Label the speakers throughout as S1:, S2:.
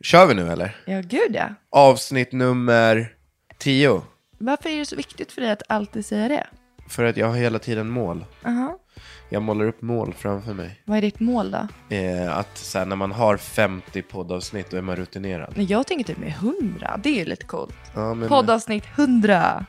S1: Kör vi nu eller?
S2: Ja, gud ja.
S1: Avsnitt nummer 10.
S2: Varför är det så viktigt för dig att alltid säga det?
S1: För att jag har hela tiden mål.
S2: Aha.
S1: Jag målar upp mål framför mig.
S2: Vad är ditt mål då?
S1: Eh, att så här, när man har 50 poddavsnitt då är man rutinerad.
S2: Nej, jag tänker typ med 100. Det är ju lite coolt.
S1: Ja, men-
S2: Poddavsnitt 100.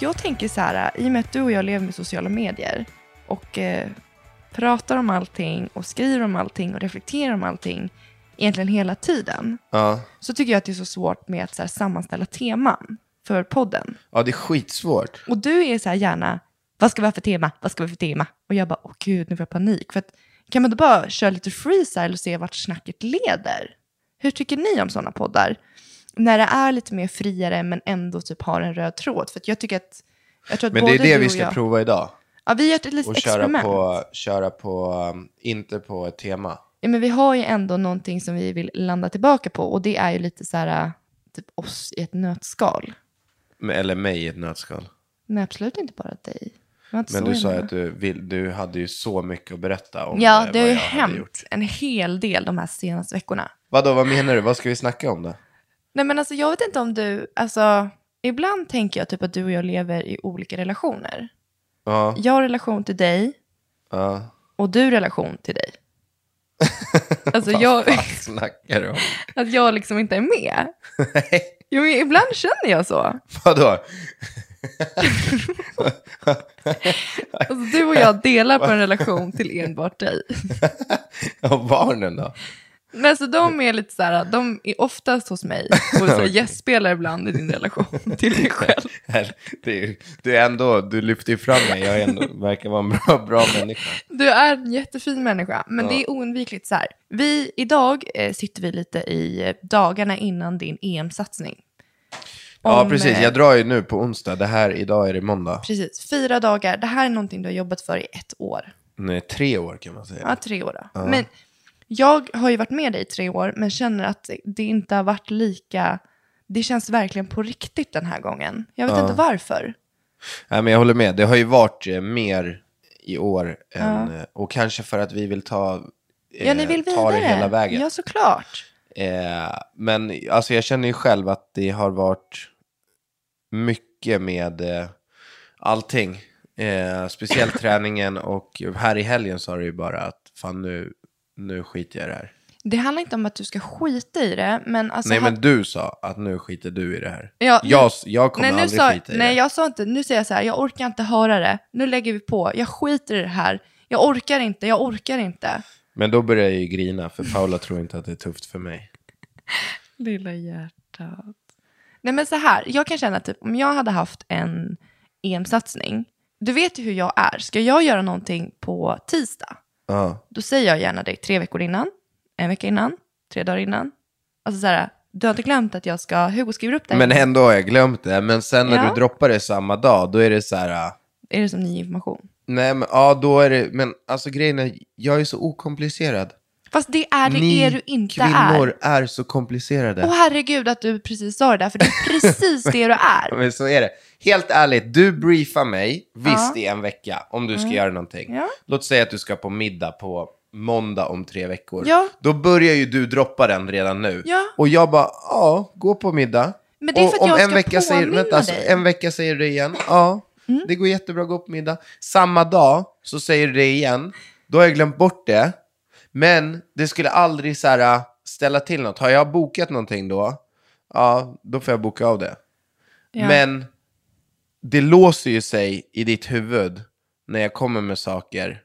S2: Jag tänker så här, i och med att du och jag lever med sociala medier och eh, pratar om allting och skriver om allting och reflekterar om allting egentligen hela tiden,
S1: Ja.
S2: så tycker jag att det är så svårt med att så här, sammanställa teman för podden.
S1: ja, det är skitsvårt.
S2: Och du är så här gärna, vad ska vi ha för tema, vad ska vi ha för tema? Och jag bara, åh gud, nu får jag panik. För att, kan man då bara köra lite freestyle och se vart snacket leder? Hur tycker ni om sådana poddar? När det är lite mer friare men ändå typ har en röd tråd. För att jag tycker att, jag tror att
S1: Men det
S2: både
S1: är det
S2: du
S1: vi
S2: och
S1: ska
S2: jag,
S1: prova idag.
S2: Ja, vi gör ett litet
S1: Och köra
S2: experiment.
S1: på, köra på, um, inte på ett tema.
S2: Ja, men vi har ju ändå någonting som vi vill landa tillbaka på och det är ju lite så här, typ oss i ett nötskal.
S1: Men- Eller mig i ett nötskal.
S2: Nej, absolut inte bara dig. Det var inte
S1: Men
S2: så
S1: du
S2: jag
S1: sa ju
S2: menade.
S1: att du, vill, du hade ju så mycket att berätta om
S2: Ja,
S1: eh,
S2: det
S1: vad
S2: har ju
S1: jag hade
S2: hänt
S1: gjort.
S2: en hel del de här senaste veckorna.
S1: Vadå, vad menar du? Vad ska vi snacka om då?
S2: Nej men alltså jag vet inte om du, alltså ibland tänker jag typ att du och jag lever i olika relationer.
S1: Ja,
S2: Jag har relation till dig
S1: ja.
S2: och du relation till dig. Alltså jag,
S1: Vad fan snackar du om?
S2: att jag liksom inte är med.
S1: Nej,
S2: Jo men ibland känner jag så.
S1: vadå?
S2: Alltså du och jag delar på en relation till enbart dig.
S1: Och barnen då?
S2: Men alltså de är lite så här, de är oftast hos mig och så gästspelar ibland i din relation till dig själv.
S1: Här, Det är, ju- det är ändå, du lyfter ju fram mig, jag är ändå, verkar vara en bra, bra människa.
S2: Du är en jättefin människa, men det är oundvikligt så här. Vi, idag eh, sitter vi lite i eh, dagarna innan din EM-satsning.
S1: Ja,
S2: Om,
S1: precis,
S2: eh,
S1: jag drar ju nu på onsdag, det här, idag är det måndag.
S2: Precis, fyra dagar. Det här är någonting du har jobbat för i ett år.
S1: Nej, tre år kan man säga.
S2: Ja, tre år då. Men jag har ju varit med dig i tre år, men känner att det inte har varit lika... Det känns verkligen på riktigt den här gången. Jag vet inte varför.
S1: Nej, men jag håller med, det har ju varit eh, mer i år, än, eh, och kanske för att vi vill ta, eh,
S2: Ja, ni vill
S1: ta
S2: vidare.
S1: det hela vägen.
S2: Ja, såklart.
S1: Eh, men alltså jag känner ju själv att det har varit mycket med eh, allting. Eh, speciellt träningen och här i helgen sa du ju bara att fan nu, nu skiter jag i det här.
S2: Det handlar inte om att du ska skita i det, men alltså...
S1: nej
S2: hade-
S1: men du sa att nu skiter du i det här.
S2: Ja,
S1: jag,
S2: men-
S1: s- jag kommer
S2: nej, nu
S1: aldrig
S2: sa,
S1: skita i
S2: nej,
S1: det.
S2: jag sa inte, nu säger jag så här, jag orkar inte höra det, nu lägger vi på, jag skiter i det här, jag orkar inte, jag orkar inte.
S1: Men då börjar jag ju grina för Paula tror inte att det är tufft för mig.
S2: Lilla hjärtat. Nej men så här, jag kan känna typ om jag hade haft en EM-satsning, du vet ju hur jag är, ska jag göra någonting på tisdag,
S1: Ja,
S2: då säger jag gärna det tre veckor innan, en vecka innan, tre dagar innan. Alltså så här, du har inte glömt att jag ska, Hugo skriver upp det här.
S1: Men ändå har jag glömt det. Men sen när
S2: Ja.
S1: du droppar det samma dag, då är det så här... ah,
S2: Är det som ny information?
S1: Nej, men ja, då är det... Men alltså grejen är, jag är så okomplicerad.
S2: Fast det är det
S1: Ni
S2: är du inte är.
S1: kvinnor är. så komplicerade.
S2: Åh herregud att du precis sa det där, för det är precis det du är.
S1: Men så är det. Helt ärligt, du briefar mig, visst i en vecka, om du ska göra någonting.
S2: Mm. Ja.
S1: Låt säga att du ska på middag på måndag om tre veckor.
S2: Ja.
S1: Då börjar ju du droppa den redan nu.
S2: Ja.
S1: Och jag bara, ja, gå på middag.
S2: Men det är för att
S1: om
S2: jag
S1: en
S2: ska
S1: vecka säger,
S2: påminna
S1: vänta, alltså,
S2: dig. Mm.
S1: en vecka säger du det igen. Ja, det går jättebra att gå på middag. Samma dag så säger du det igen. Då har jag glömt bort det. Men det skulle aldrig så här, äh, ställa till något. Har jag bokat någonting då, ja, då får jag boka av det.
S2: Ja.
S1: Men det låser ju sig i ditt huvud när jag kommer med saker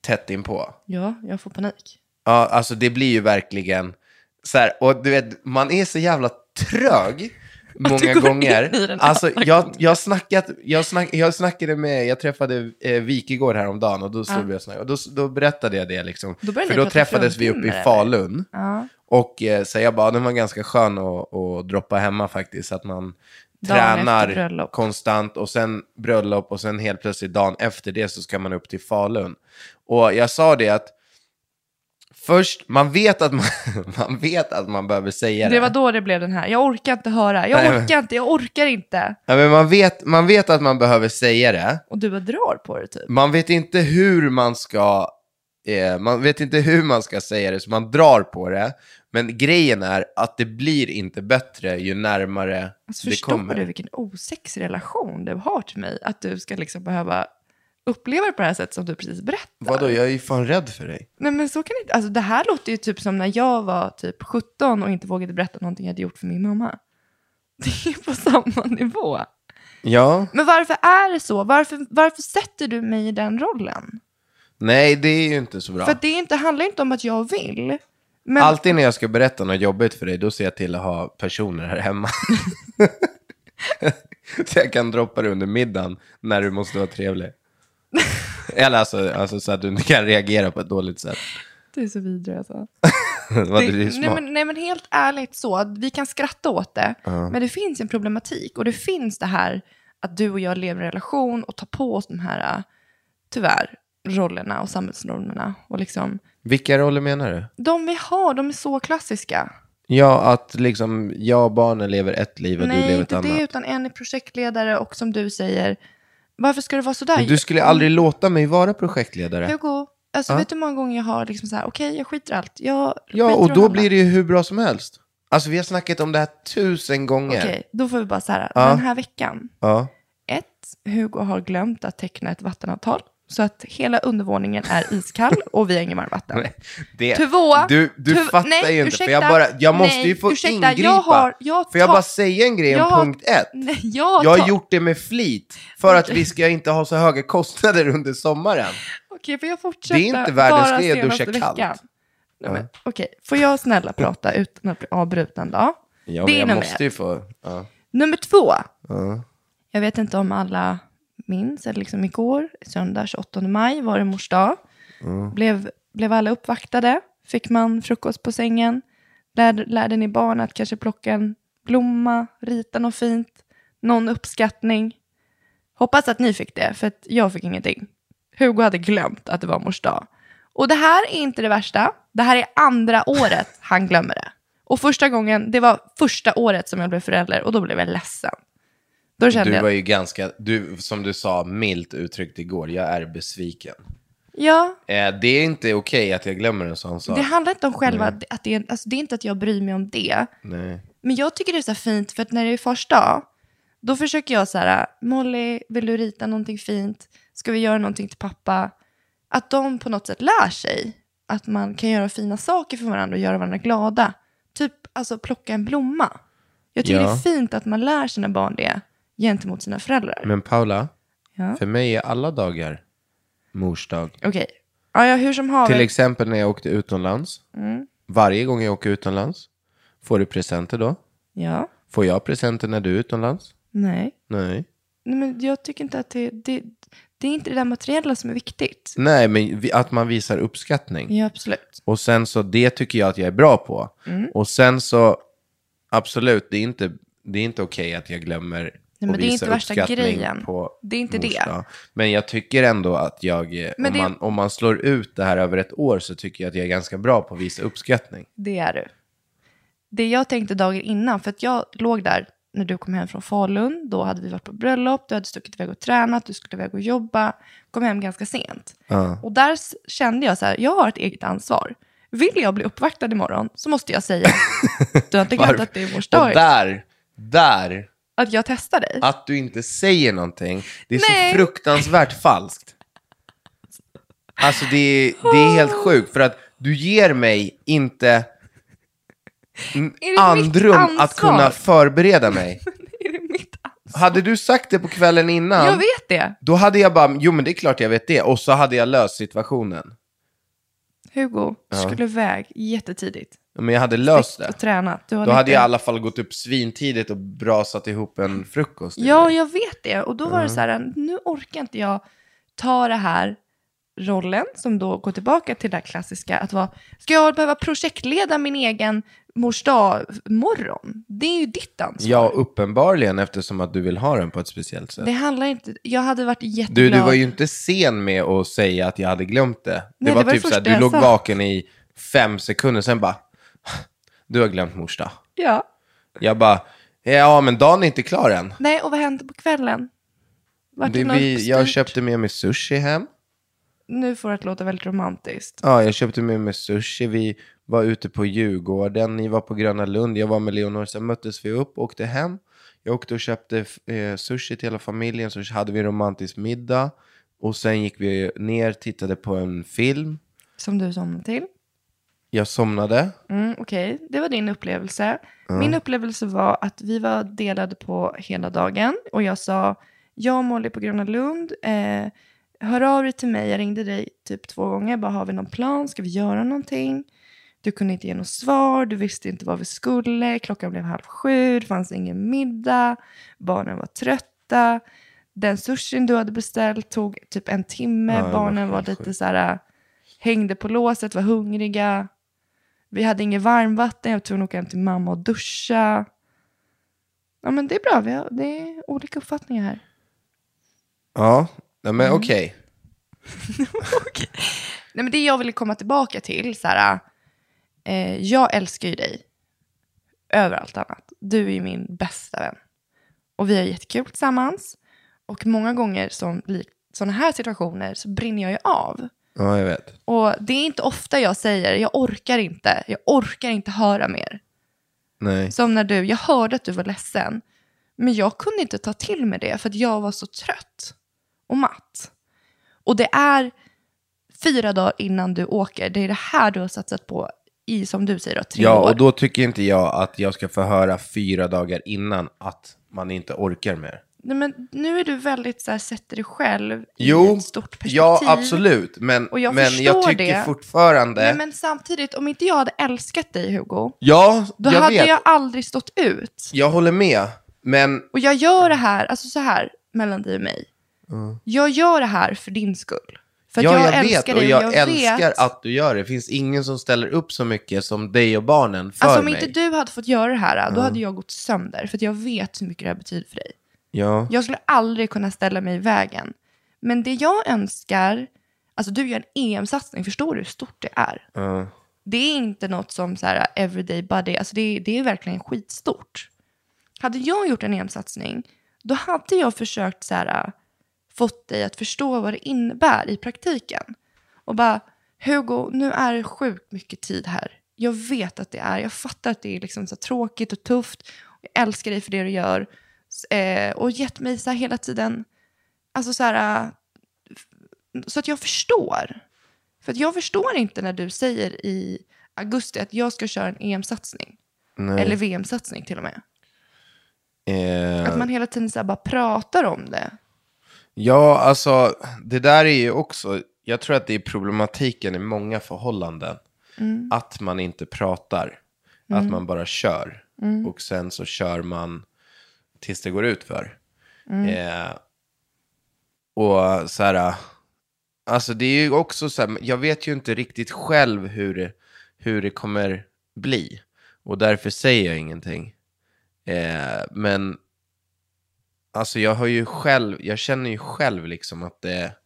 S1: tätt inpå.
S2: Ja, jag får panik.
S1: Ja, alltså det blir ju verkligen så här, och du vet, man är så jävla trög många
S2: går in i
S1: gånger.
S2: den här
S1: Alltså
S2: gången.
S1: jag, jag, snackat, jag, snack, jag snackade med, jag träffade eh, Wikegård häromdagen och då, stod vi och snackade, och då, då berättade jag det liksom.
S2: Då började
S1: För
S2: ni
S1: då
S2: prata
S1: träffades vi uppe i
S2: fruntimmer, eller?
S1: Falun.
S2: Ja.
S1: Och eh, så jag bara, den var ganska skön att, att droppa hemma faktiskt. Så att man
S2: Dagen efter
S1: tränar
S2: bröllop.
S1: konstant och sen bröllop och sen helt plötsligt dagen efter det så ska man upp till Falun. Och jag sa det att först, man vet att man, man, vet att man behöver säga det.
S2: Det var då det blev den här. Jag orkar inte höra.
S1: Nej,
S2: Jag
S1: men-
S2: orkar inte. Jag orkar inte.
S1: ja, men man, vet, man vet att man behöver säga det.
S2: Och du bara drar på det typ.
S1: Man vet inte hur man ska eh, man vet inte hur man ska säga det, så man drar på det. Men grejen är att det blir inte bättre ju närmare
S2: Alltså,
S1: det
S2: förstår
S1: kommer.
S2: du vilken osexig relation du har till mig? Att du ska liksom behöva uppleva det på det här sättet som du precis berättar.
S1: Vadå, jag är ju fan rädd för dig.
S2: Nej men så kan det inte. Alltså det här låter ju typ som när jag var typ 17 och inte vågade berätta någonting jag hade gjort för min mamma. Det är på samma nivå.
S1: Ja.
S2: Men varför är det så? Varför, varför sätter du mig i den rollen?
S1: Nej, det är ju inte så bra.
S2: För att det är inte, handlar inte om att jag vill. Men
S1: Alltid när jag ska berätta något jobbigt för dig, då ser jag till att ha personer här hemma. så jag kan droppa det under middagen när du måste vara trevlig. Eller alltså, alltså så att du inte kan reagera på ett dåligt sätt.
S2: du är så vidrig alltså.
S1: Vad
S2: Det-
S1: du är ju
S2: nej,
S1: smart.
S2: men, nej men helt ärligt så, att vi kan skratta åt det, men det finns en problematik och det finns det här att du och jag lever i en relation och tar på oss de här, äh, tyvärr, rollerna och samhällsnormerna. Och liksom,
S1: Vilka roller menar du?
S2: de vi har, de är så klassiska.
S1: Ja, att liksom jag och barnen lever ett liv och du
S2: nej,
S1: lever ett
S2: inte
S1: annat.
S2: det, utan en är projektledare och som du säger, varför ska det vara sådär?
S1: Men Du skulle aldrig låta mig vara projektledare.
S2: Hugo, alltså
S1: Ja.
S2: vet du hur många gånger jag har liksom så här, okej, jag skiter i allt. Jag
S1: Ja,
S2: skiter
S1: och
S2: i
S1: då
S2: alla.
S1: blir det ju hur bra som helst. Alltså vi har snackat om det här tusen gånger.
S2: Okej, då får vi bara så här,
S1: Ja.
S2: den här veckan,
S1: Ja.
S2: Ett, Hugo har glömt att teckna ett vattenavtal. Så att hela undervåningen är iskall och vi har ingen varmvatten.
S1: Det,
S2: Två,
S1: du du
S2: tu-
S1: fattar
S2: nej,
S1: ju inte,
S2: ursäkta,
S1: för jag, bara, jag måste
S2: nej,
S1: ju få
S2: ursäkta, jag
S1: ingripa.
S2: har- jag
S1: får jag
S2: tar-
S1: bara säga en grej om
S2: jag har-
S1: punkt ett?
S2: Nej, jag,
S1: Jag
S2: tar-
S1: har gjort det med flit, för att vi ska inte ha så höga kostnader under sommaren.
S2: Okej, får jag fortsätta?
S1: Det är inte världens
S2: bara
S1: grej att duscha
S2: senaste
S1: kallt.
S2: veckan? Nej, men, Okej, får jag snälla prata utan att bli avbruten då?
S1: Ja,
S2: Det är
S1: men jag
S2: nummer
S1: måste ju få... Ja.
S2: Nummer två.
S1: Ja.
S2: Jag vet inte om alla minns, eller liksom igår, söndag 28 maj, var det mors dag. Blev, blev alla uppvaktade? Fick man frukost på sängen? Lärde, lärde ni barn att kanske plocka en blomma, rita något fint, någon uppskattning? Hoppas att ni fick det, för att jag fick ingenting. Hugo hade glömt att det var mors dag. Och det här är inte det värsta. Det här är andra året han glömmer det. Och första gången, det var första året som jag blev förälder och då blev jag ledsen. Då kände
S1: Du
S2: jag,
S1: var ju ganska, du, som du sa milt uttryckt igår, jag är besviken.
S2: ja,
S1: Eh, det är inte okej att jag glömmer en sån sak.
S2: det handlar inte om själva, att det, är, alltså det är inte att jag bryr mig om det.
S1: Nej.
S2: Men jag tycker det är så här fint för att när det är fars dag, då försöker jag så här, Molly, vill du rita någonting fint? Ska vi göra någonting till pappa? Att de på något sätt lär sig att man kan göra fina saker för varandra och göra varandra glada. Typ alltså plocka en blomma. Jag tycker
S1: Ja.
S2: det är fint att man lär sina barn det gentemot sina föräldrar.
S1: Men Paula,
S2: Ja.
S1: för mig är alla dagar mors dag.
S2: Okej, ja, ja, hur som
S1: Till
S2: haver.
S1: exempel när jag åkte utomlands.
S2: Mm.
S1: Varje gång jag åker utomlands får du presenter då.
S2: Ja,
S1: Får jag presenter när du är utomlands?
S2: nej.
S1: Nej.
S2: Nej, men jag tycker inte att det, det, det är inte det där materiella som är viktigt.
S1: Nej, men vi- att man visar uppskattning.
S2: Ja, absolut.
S1: Och sen så, det tycker jag att jag är bra på.
S2: Mm.
S1: Och sen så, absolut, det är inte, det är inte okej att jag glömmer
S2: Nej,
S1: att
S2: men det är
S1: visa
S2: inte värsta
S1: uppskattning
S2: grejen.
S1: på
S2: Det är inte
S1: mors
S2: det.
S1: dag. Men jag tycker ändå att jag, eh, om,
S2: Men det-
S1: man, om man slår ut det här över ett år så tycker jag att jag är ganska bra på att visa uppskattning.
S2: Det är du. Det jag tänkte dagen innan, för att jag låg där när du kom hem från Falun, då hade vi varit på bröllop, du hade stuckit iväg och tränat, du skulle iväg och jobba, kom hem ganska sent. Och där s- kände jag så här, jag har ett eget ansvar. Vill jag bli uppvaktad imorgon så måste jag säga, du har inte glömt att det är mors dag.
S1: Och där, där,
S2: Att jag testar dig?
S1: att du inte säger någonting, det är
S2: Nej.
S1: så fruktansvärt falskt. Alltså det är, det är helt sjukt, för att du ger mig inte n-
S2: mitt
S1: andrum
S2: ansvar?
S1: att kunna förbereda mig.
S2: Är det mitt ansvar?
S1: Hade du sagt det på kvällen innan,
S2: Jag vet det.
S1: då hade jag bara, jo men det är klart jag vet det, och så hade jag löst situationen.
S2: Hugo skulle iväg jättetidigt.
S1: Men jag hade löst det.
S2: Och tränat. Du har
S1: Då hade
S2: inte-
S1: jag i alla fall gått upp svintidigt och brasat ihop en frukost. till
S2: Ja,
S1: dig.
S2: jag vet det. Och då var det så här, nu orkar inte jag ta det här rollen som då går tillbaka till det här klassiska att vara, ska jag behöva projektleda min egen mors dag morgon? Det är ju ditt ansvar.
S1: ja, uppenbarligen eftersom att du vill ha den på ett speciellt sätt.
S2: Det handlar inte, jag hade varit jätteglad.
S1: Du, du var ju inte sen med att säga att jag hade glömt det. Det
S2: Nej,
S1: var
S2: det var det
S1: typ så här,
S2: första
S1: du
S2: jag
S1: låg
S2: sa.
S1: vaken i fem sekunder, sen bara, du har glömt mors dag.
S2: Ja.
S1: Jag bara, ja men dagen är inte klar än.
S2: Nej, och vad hände på kvällen? Vart
S1: Det,
S2: något
S1: vi, jag
S2: styrt?
S1: köpte med mig sushi hem.
S2: Nu får det att låta väldigt romantiskt.
S1: Ja, jag köpte med mig sushi. Vi var ute på Djurgården, ni var på Gröna Lund, jag var med Leonor. Sen möttes vi upp, åkte hem. Jag åkte och köpte eh, sushi till hela familjen, så hade vi en romantisk middag. Och sen gick vi ner, tittade på en film.
S2: Som du somnade till.
S1: Jag somnade.
S2: Mm, Okej, det var din upplevelse. Min upplevelse var att vi var delade på hela dagen och jag sa, jag och Molly på Gröna Lund, eh, hör av dig till mig, jag ringde dig typ två gånger, bara har vi någon plan, ska vi göra någonting? Du kunde inte ge något svar, du visste inte vad vi skulle, klockan blev halv sju, det fanns ingen middag, barnen var trötta, den sushin du hade beställt tog typ en timme,
S1: det var
S2: barnen var
S1: helt
S2: lite
S1: sjukt.
S2: så här, eh, hängde på låset, var hungriga. Vi hade inget varmvatten, jag var tvungen att åka hem till mamma och duscha. Ja men det är bra, vi har, det är olika uppfattningar här.
S1: Ja, nej,
S2: Mm.
S1: men okej.
S2: Nej men det jag ville komma tillbaka till, så här, eh, jag älskar ju dig över allt annat. Du är ju min bästa vän. Och vi har jättekul tillsammans. Och många gånger som likt sådana här situationer så brinner jag ju av.
S1: Ja, jag vet.
S2: Och det är inte ofta jag säger, jag orkar inte, jag orkar inte höra mer.
S1: Nej.
S2: Som när du, jag hörde att du var ledsen, men jag kunde inte ta till mig det för att jag var så trött och matt. Och det är fyra dagar innan du åker, det är det här du har satsat på i, som du säger, då, tre
S1: Ja,
S2: år.
S1: och då tycker inte jag att jag ska få höra fyra dagar innan att man inte orkar mer.
S2: Nej, men nu är du väldigt så här, sätter dig själv i
S1: Jo,
S2: ett stort perspektiv.
S1: ja absolut. Men,
S2: Och jag
S1: men jag
S2: förstår
S1: tycker
S2: det.
S1: fortfarande...
S2: Nej, men samtidigt, om inte jag hade älskat dig Hugo,
S1: Ja,
S2: då
S1: jag
S2: hade
S1: vet.
S2: jag aldrig stått ut.
S1: Jag håller med. Men
S2: Och jag gör det här, alltså så här, mellan dig och mig. Jag gör det här för din skull. För att
S1: Mm. ja,
S2: jag,
S1: jag, vet
S2: älskar
S1: och
S2: dig
S1: jag,
S2: och jag
S1: älskar
S2: vet.
S1: att du gör det. Det finns ingen som ställer upp så mycket som dig och barnen för
S2: alltså om
S1: mig. Mm.
S2: inte du hade fått göra det här, då hade jag gått sönder. För att jag vet hur mycket det här betyder för dig.
S1: Ja.
S2: Jag skulle aldrig kunna ställa mig i vägen. Men det jag önskar, alltså du gör en EM-satsning, förstår du hur stort det är?
S1: Ja.
S2: Det är inte något som så här everyday buddy, alltså det, är- det är verkligen skitstort. Hade jag gjort en EM-satsning, då hade jag försökt så här, fått dig att förstå vad det innebär i praktiken. Och bara, Hugo, nu är det sjukt mycket tid här. Jag vet att det är, jag fattar att det är liksom så här tråkigt och tufft. Jag älskar dig för det du gör. S- Eh, och gett mig så här hela tiden, alltså så här, eh, f- så att jag förstår. För att jag förstår inte när du säger i augusti att jag ska köra en EM-satsning.
S1: Nej.
S2: Eller VM-satsning till och med.
S1: Eh,
S2: Att man hela tiden så här bara pratar om det.
S1: Ja, alltså det där är ju också, jag tror att det är problematiken i många förhållanden. Att man inte pratar, att man bara kör. Och sen så kör man tills det går ut för. Eh, och så här, alltså det är ju också så här, jag vet ju inte riktigt själv hur det, hur det kommer bli. Och därför säger jag ingenting. Eh, men Alltså jag har ju själv, jag känner ju själv liksom att det,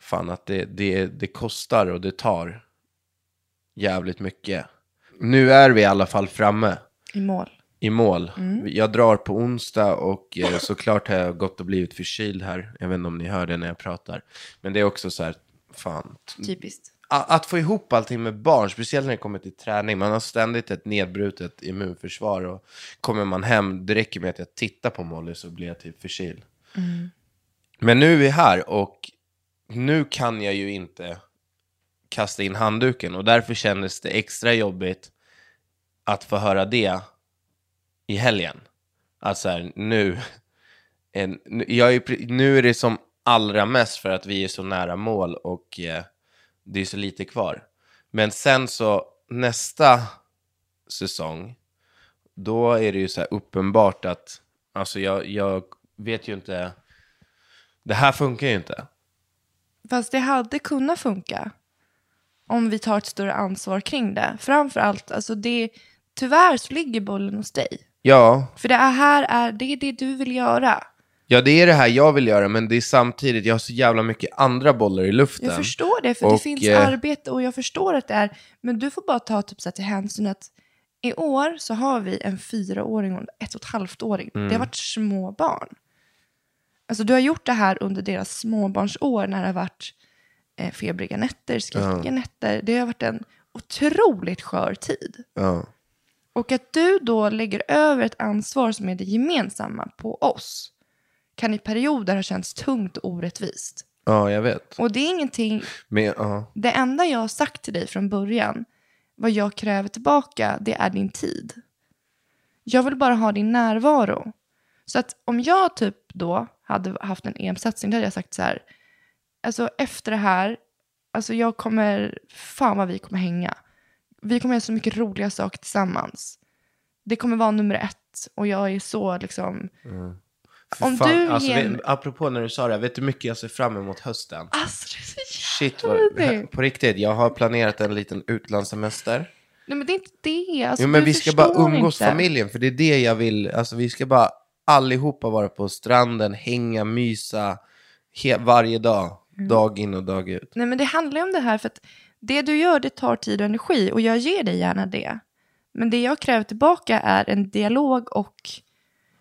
S1: fan att det, det, det kostar och det tar jävligt mycket. Nu är vi i alla fall framme
S2: I mål.
S1: i mål. Jag drar på onsdag och eh, såklart har jag gått och blivit förkyld här. Jag vet inte om ni hör det när jag pratar. Men det är också så här, fan,
S2: Typiskt.
S1: a- att få ihop allting med barn, speciellt när det kommer till träning. Man har ständigt ett nedbrutet immunförsvar och kommer man hem, det räcker med att jag tittar på Molly så blir jag typ förkyld. Men nu är vi här och nu kan jag ju inte kasta in handduken och därför kändes det extra jobbigt att få höra det i helgen. Att så här, nu, en, nu- jag är, pre- nu är det som allra mest för att vi är så nära mål och eh, det är så lite kvar. Men sen så nästa säsong, då är det ju så här uppenbart att, alltså jag, jag vet ju inte, det här funkar ju inte.
S2: Fast det hade kunnat funka om vi tar ett större ansvar kring det. Framförallt, alltså det, tyvärr så ligger bollen hos dig.
S1: Ja,
S2: För det här är det, är det du vill göra.
S1: Ja, det är det här jag vill göra, men det är samtidigt, jag har så jävla mycket andra bollar i luften.
S2: Jag förstår det, för det
S1: Och,
S2: finns
S1: eh,
S2: arbete och jag förstår att det är, men du får bara ta typ så här till hänsyn att i år så har vi en fyraåring och en ett och ett halvt-åring. Det
S1: Mm.
S2: har varit små barn. Alltså du har gjort det här under deras småbarnsår när det har varit eh, febriga nätter, skrikiga nätter. Det har varit en otroligt skör tid.
S1: Ja.
S2: Och att du då lägger över ett ansvar som är det gemensamma på oss kan i perioder ha känts tungt och orättvist.
S1: ja, jag vet.
S2: Och det är ingenting
S1: Men, ja.
S2: det enda jag har sagt till dig från början, vad jag kräver tillbaka, det är din tid. Jag vill bara ha din närvaro. Så att om jag typ då hade haft en EM-satsning, då hade jag sagt så här, alltså efter det här, alltså jag kommer, fan vad vi kommer hänga. Vi kommer göra så mycket roliga saker tillsammans. Det kommer vara nummer ett och jag är så liksom,
S1: För
S2: Om du
S1: alltså,
S2: ger-
S1: vet, apropå när du sa det, här, vet du hur mycket jag ser fram emot hösten?
S2: alltså det är så jävla
S1: Shit,
S2: roligt.
S1: vad, på riktigt, jag har planerat en liten utlandssemester.
S2: Nej men det är inte det, alltså,
S1: jo, men
S2: du
S1: vi ska bara
S2: förstår
S1: umgås
S2: inte.
S1: familjen, för det är det jag vill. Alltså, vi ska bara allihopa vara på stranden, hänga, mysa, he- varje dag.
S2: Mm.
S1: Dag in och dag ut.
S2: Nej, men det handlar ju om det här för att det du gör det tar tid och energi och jag ger dig gärna det. Men det jag kräver tillbaka är en dialog och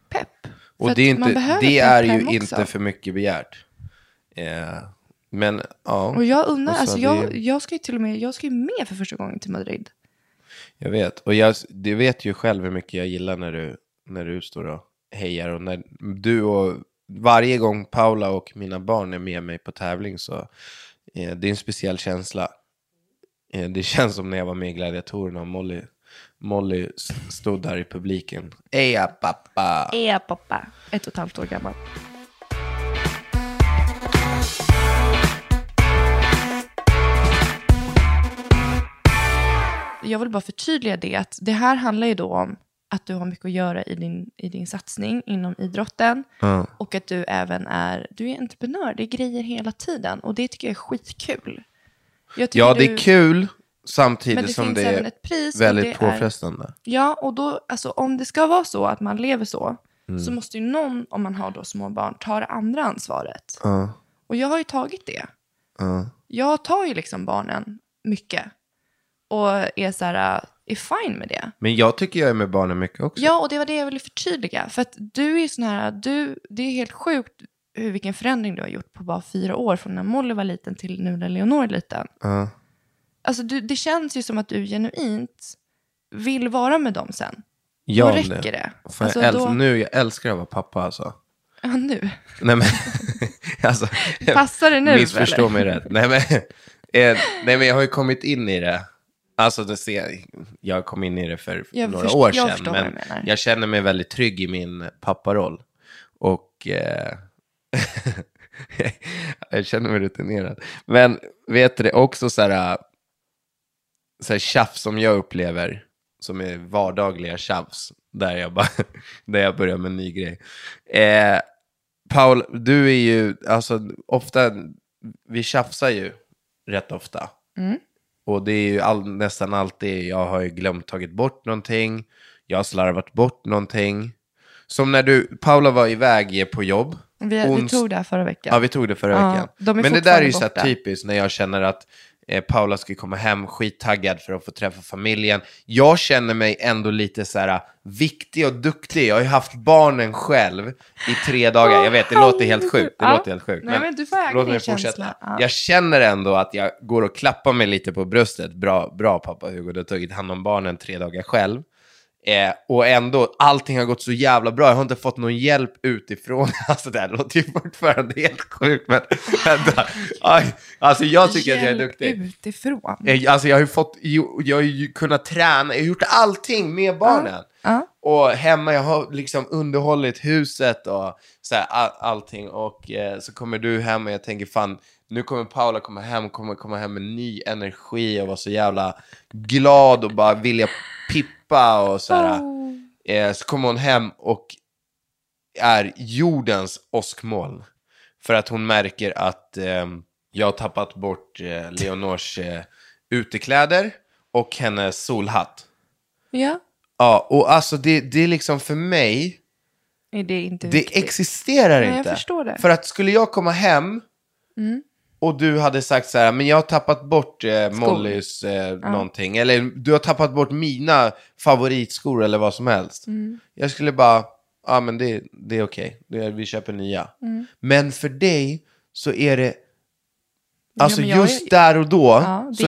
S2: pepp. För
S1: Och det är,
S2: att man
S1: inte,
S2: behöver
S1: det
S2: pepp
S1: är ju
S2: hem också.
S1: inte för mycket begärt. Eh, men ja,
S2: Och jag undrar,
S1: Och så
S2: alltså,
S1: det-
S2: jag, jag ska ju till och med, jag ska ju med för första gången till Madrid.
S1: jag vet. Och jag, du vet ju själv hur mycket jag gillar när du, när du står och hejar. Och när du och varje gång Paula och mina barn är med mig på tävling så eh, det är en speciell känsla. Eh, det känns som när jag var med i Gladiatorerna och Molly, Molly s- stod där i publiken. Eja pappa!
S2: Ea pappa, ett och ett halvt år gammal. Jag vill bara förtydliga det att det här handlar ju då om att du har mycket att göra i din, i din satsning inom idrotten och att du även är, du är entreprenör, det är grejer hela tiden och det tycker jag är skitkul. Jag tycker
S1: Ja, det
S2: du-
S1: är kul samtidigt
S2: Men det
S1: som
S2: finns
S1: det
S2: även
S1: är
S2: ett pris och
S1: väldigt
S2: det är-
S1: påfrestande.
S2: Ja, och då, alltså, om det ska vara så att man lever så,
S1: Mm.
S2: så måste ju någon, om man har då små barn, ta det andra ansvaret.
S1: Ja.
S2: Och jag har ju tagit det.
S1: Ja.
S2: Jag tar ju liksom barnen mycket och är så här, äh, är fine med det.
S1: Men jag tycker jag är med barnen mycket också.
S2: Ja, och det var det jag ville förtydliga. För att du är sån här, du, det är helt sjukt hur, vilken förändring du har gjort på bara fyra år, från när Molly var liten till nu när Leonor är liten.
S1: Ja.
S2: Alltså du, det känns ju som att du genuint vill vara med dem sen.
S1: Ja,
S2: då räcker det.
S1: Fan,
S2: Alltså,
S1: jag älsk-
S2: då-
S1: Nu jag älskar jag att vara pappa alltså.
S2: Ja, nu.
S1: Nej men, alltså. jag-
S2: Passar det nu,
S1: Missförstå
S2: eller?
S1: mig rätt. Nej men, eh, nej men jag har ju kommit in i det. Alltså det ser, jag kom in i det för
S2: Jag
S1: några
S2: förstår-
S1: år
S2: jag
S1: sedan.
S2: förstår vad
S1: men
S2: du menar.
S1: jag känner mig väldigt trygg i min papparoll. Och eh, jag känner mig rutinerad. Men vet du, det är också så här, äh, så här tjafs som jag upplever, som är vardagliga tjafs, där jag, bara, där jag börjar med en ny grej. Eh, Paul, du är ju, alltså ofta, vi tjafsar ju rätt ofta.
S2: Mm.
S1: Och det är ju all, nästan alltid, jag har ju glömt tagit bort någonting, jag har slarvat bort någonting. Som när du, Paula var iväg på jobb.
S2: Vi, vi
S1: Ons-
S2: tog det här förra veckan.
S1: Ja, vi tog det förra
S2: Ja,
S1: veckan.
S2: de är
S1: Men det där är ju
S2: fortfarande
S1: så här
S2: borta.
S1: typiskt när jag känner att Eh, Paula ska komma hem skittaggad för att få träffa familjen. Jag känner mig ändå lite så här ah, viktig och duktig. Jag har ju haft barnen själv i tre dagar. Jag vet, det låter helt sjukt. Det
S2: Ja.
S1: låter helt sjukt.
S2: Nej, men du får äga
S1: låt
S2: din
S1: mig fortsätta.
S2: känsla. Ja.
S1: Jag känner ändå att jag går och klappar mig lite på bröstet. Bra, bra pappa Hugo, du har tagit hand om barnen tre dagar själv. Eh, och ändå, allting har gått så jävla bra. Jag har inte fått någon hjälp utifrån. Alltså det här låter ju fortfarande helt sjukt, men vänta. Aj, Alltså jag tycker att jag är
S2: Hjälp
S1: duktig.
S2: Utifrån.
S1: Eh, Alltså jag har ju fått, jo, jag har ju kunnat träna, jag har gjort allting med barnen.
S2: Ja.
S1: Och hemma, jag har liksom underhållit huset och så här, all, allting. Och eh, så kommer du hem och jag tänker fan, nu kommer Paula komma hem, kommer komma hem med ny energi och vara så jävla glad och bara vilja pippa och så här. Eh, så kommer hon hem och är jordens åskmoln. För att hon märker att eh, jag har tappat bort eh, Leonors eh, utekläder och hennes solhatt.
S2: ja.
S1: Ja, och alltså det, det är liksom för mig,
S2: Är det inte
S1: det
S2: viktigt?
S1: existerar
S2: Nej, jag
S1: inte.
S2: förstår det. Mm.
S1: För att skulle jag komma hem och du hade sagt så här, men jag har tappat bort eh, Mollys eh, någonting, eller du har tappat bort mina favoritskor eller vad som helst.
S2: Mm.
S1: Jag skulle bara, ja men det, det är okej, Det- vi köper nya.
S2: Mm.
S1: Men för dig så är det, alltså
S2: men jag
S1: just
S2: är-
S1: där och då,
S2: Ja, det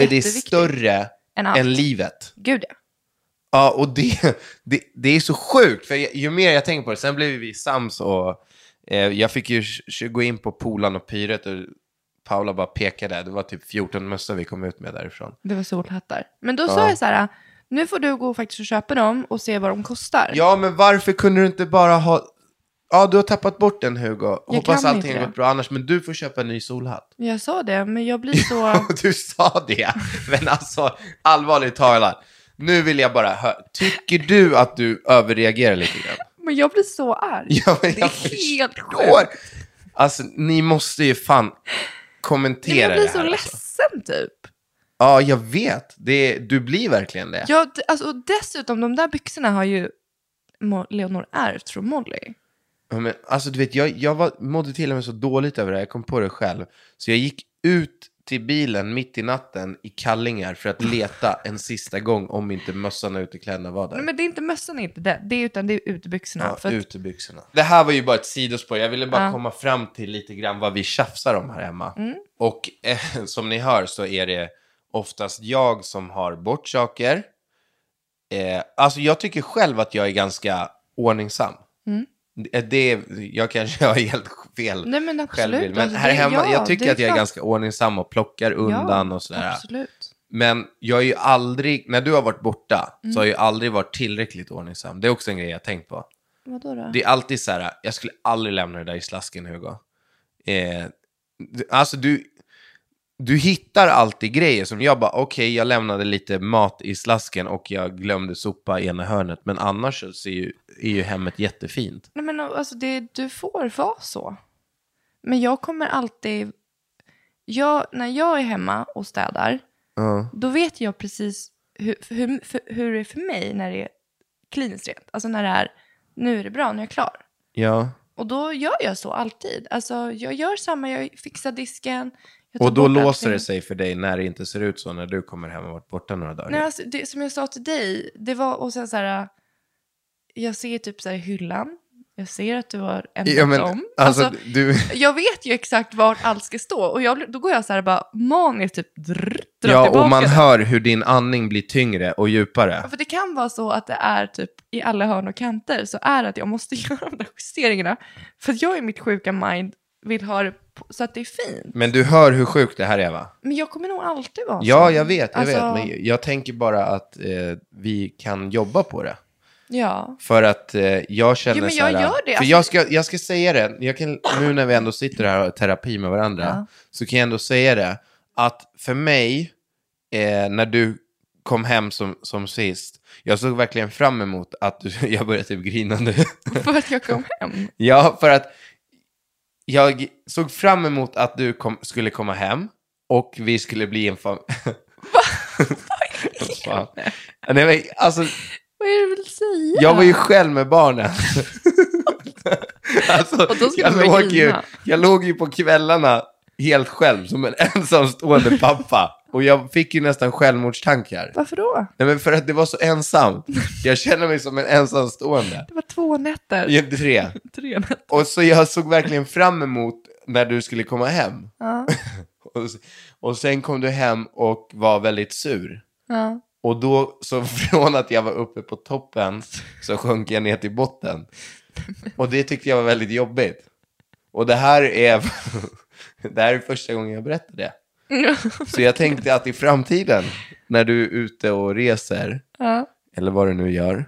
S1: är det
S2: Jätteviktigt.
S1: större
S2: Än allt.
S1: än livet.
S2: Gud ja.
S1: Ja, och det, det, det är så sjukt, för ju mer jag tänker på det, sen blev vi sams och eh, jag fick ju sh- sh- gå in på polan och pyret och Paula bara pekade, det var typ 14 mössor vi kom ut med därifrån.
S2: Det var solhattar. Men då sa jag så här, nu får du gå faktiskt och köpa dem och se vad de kostar.
S1: Ja, men varför kunde du inte bara ha, ja du har tappat bort den Hugo, hoppas
S2: kan
S1: allting
S2: inte
S1: har
S2: det.
S1: gått bra annars, men du får köpa en ny solhatt.
S2: Jag sa det, men jag blir så...
S1: Och du sa det, men alltså allvarligt talat, nu vill jag bara höra, tycker du att du överreagerar lite grann?
S2: men jag blir så arg.
S1: Ja, men
S2: det
S1: jag
S2: är helt
S1: förstår.
S2: sjukt.
S1: Alltså, ni måste ju fan
S2: Nej, men
S1: kommentera
S2: Jag blir
S1: det
S2: så
S1: här. Alltså.
S2: ledsen typ.
S1: Ja, jag vet. Det, du blir verkligen det.
S2: Jag, alltså, och dessutom, de där byxorna har ju Mo- Leonor ärvt från Molly.
S1: Ja, Men, alltså, du vet, jag, jag var, mådde till och med så dåligt över det här. Jag kom på det själv. Så jag gick ut till bilen mitt i natten i kallingar för att leta en sista gång om inte mössan och utekläderna var där.
S2: Nej, men det är inte mössan, är inte det. det är, utan det är utebyxorna.
S1: Ja,
S2: för att,
S1: utebyxorna. Det här var ju bara ett sidospår. Jag ville bara
S2: Ja. Mm.
S1: komma fram till lite grann vad vi tjafsar om här hemma. Och eh, som ni hör så är det oftast jag som har bort saker. Eh, alltså jag tycker själv att jag är ganska ordningsam. Det, eh, det, jag kanske har helt fel
S2: Mm. Nej, men absolut.
S1: självbild. Men
S2: Alltså,
S1: här
S2: det-
S1: hemma,
S2: ja,
S1: jag
S2: det
S1: tycker
S2: är
S1: att jag är
S2: klart.
S1: ganska ordningsam och plockar undan och sådär.
S2: Absolut.
S1: Men jag är ju aldrig, när du har varit borta,
S2: Mm.
S1: så har jag ju aldrig varit tillräckligt ordningsam. Det är också en grej jag har tänkt på.
S2: Vadå då?
S1: Det är alltid så här, jag skulle aldrig lämna det där i slasken Hugo. Eh, d- alltså du, du hittar alltid grejer som jag bara, okej jag lämnade lite mat i slasken och jag glömde sopa i ena hörnet. Men annars så ser ju, är ju hemmet jättefint.
S2: Nej, men alltså, det, du får vara så. Men jag kommer alltid... Jag, när jag är hemma och städar, då vet jag precis hur, hur, för, hur det är för mig när det är kliniskt rent. Alltså när det är, nu är det bra, nu är jag klar.
S1: Ja.
S2: Och då gör jag så alltid. Alltså jag gör samma, jag fixar disken. Jag tar
S1: Och då
S2: bort
S1: låser det
S2: allting.
S1: sig för dig när det inte ser ut så när du kommer hem och varit borta några dagar.
S2: Nej, alltså, det, som jag sa till dig, det var, och sen så här, jag ser typ så här hyllan, Jag ser att du har ändrat
S1: Ja, men,
S2: om.
S1: alltså,
S2: Alltså,
S1: du...
S2: jag vet ju exakt var allt ska stå och jag, blir- då går jag så här bara maniskt typ drr, drar
S1: Ja,
S2: tillbaka.
S1: och man
S2: det.
S1: hör hur din andning blir tyngre och djupare.
S2: För det kan vara så att det är typ i alla hörn och kanter så är det att jag måste göra de där justeringarna. För att jag i mitt sjuka mind vill ha det på, så att det är fint.
S1: Men du hör hur sjukt det här är, va?
S2: Men jag kommer nog alltid vara
S1: Ja,
S2: så.
S1: jag vet, jag
S2: Alltså,
S1: vet. Men jag tänker bara att eh, vi kan jobba på det.
S2: Ja.
S1: För att eh, jag känner
S2: Jo, men
S1: så
S2: jag
S1: här,
S2: gör det.
S1: För
S2: Alltså-
S1: jag ska, jag ska säga det, jag kan, nu när vi ändå sitter här och har terapi med varandra, så kan jag ändå säga det, att för mig, eh, när du kom hem som, som sist, jag såg verkligen fram emot att du, jag började typ grina nu.
S2: För att jag kom hem.
S1: Ja, för att jag såg fram emot att du kom, skulle komma hem och vi skulle bli en familj. Vad Nej, men, alltså,
S2: Vad är det du vill säga?
S1: jag var ju själv med barnen. alltså,
S2: Och då skulle
S1: jag,
S2: du börja
S1: låg ju,
S2: grina.
S1: jag låg ju på kvällarna helt själv som en ensamstående pappa. Och jag fick ju nästan självmordstankar.
S2: Varför då?
S1: Nej, men för att det var så ensamt. Jag känner mig som en ensamstående.
S2: Det var två nätter.
S1: Jag är Tre.
S2: Tre nätter.
S1: Och så jag såg verkligen fram emot när du skulle komma hem.
S2: Ja.
S1: Och, s- och sen kom du hem och var väldigt sur.
S2: Ja.
S1: Och då, så från att jag var uppe på toppen så sjönk jag ner till botten. Och det tyckte jag var väldigt jobbigt. Och det här är, det här är första gången jag berättar det. Så jag tänkte att i framtiden, när du är ute och reser,
S2: ja. Mm.
S1: eller vad du nu gör,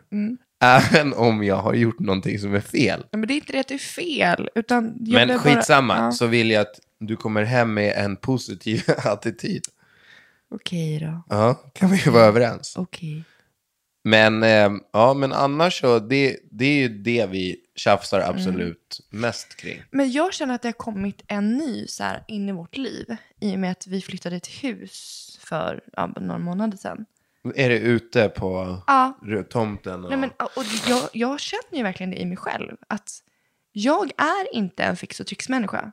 S1: även om jag har gjort någonting som är fel,
S2: Nej, Men det är inte det att du är fel. Utan jag
S1: men
S2: blev
S1: skitsamma,
S2: Bara, ja.
S1: så vill jag att du kommer hem med en positiv attityd.
S2: Okej då.
S1: Ja, kan vi ju vara överens.
S2: Okej.
S1: Men, eh, ja, men annars så, det, det är ju det vi tjafsar
S2: Mm.
S1: absolut mest kring.
S2: Men jag känner att det har kommit en ny så här, in i vårt liv. I och med att vi flyttade ett hus för ja, några månader sedan.
S1: Är det ute på
S2: Ja.
S1: r- tomten? Och...
S2: Nej, men, och jag, jag känner ju verkligen det i mig själv. Att jag är inte en fix och trixmänniska.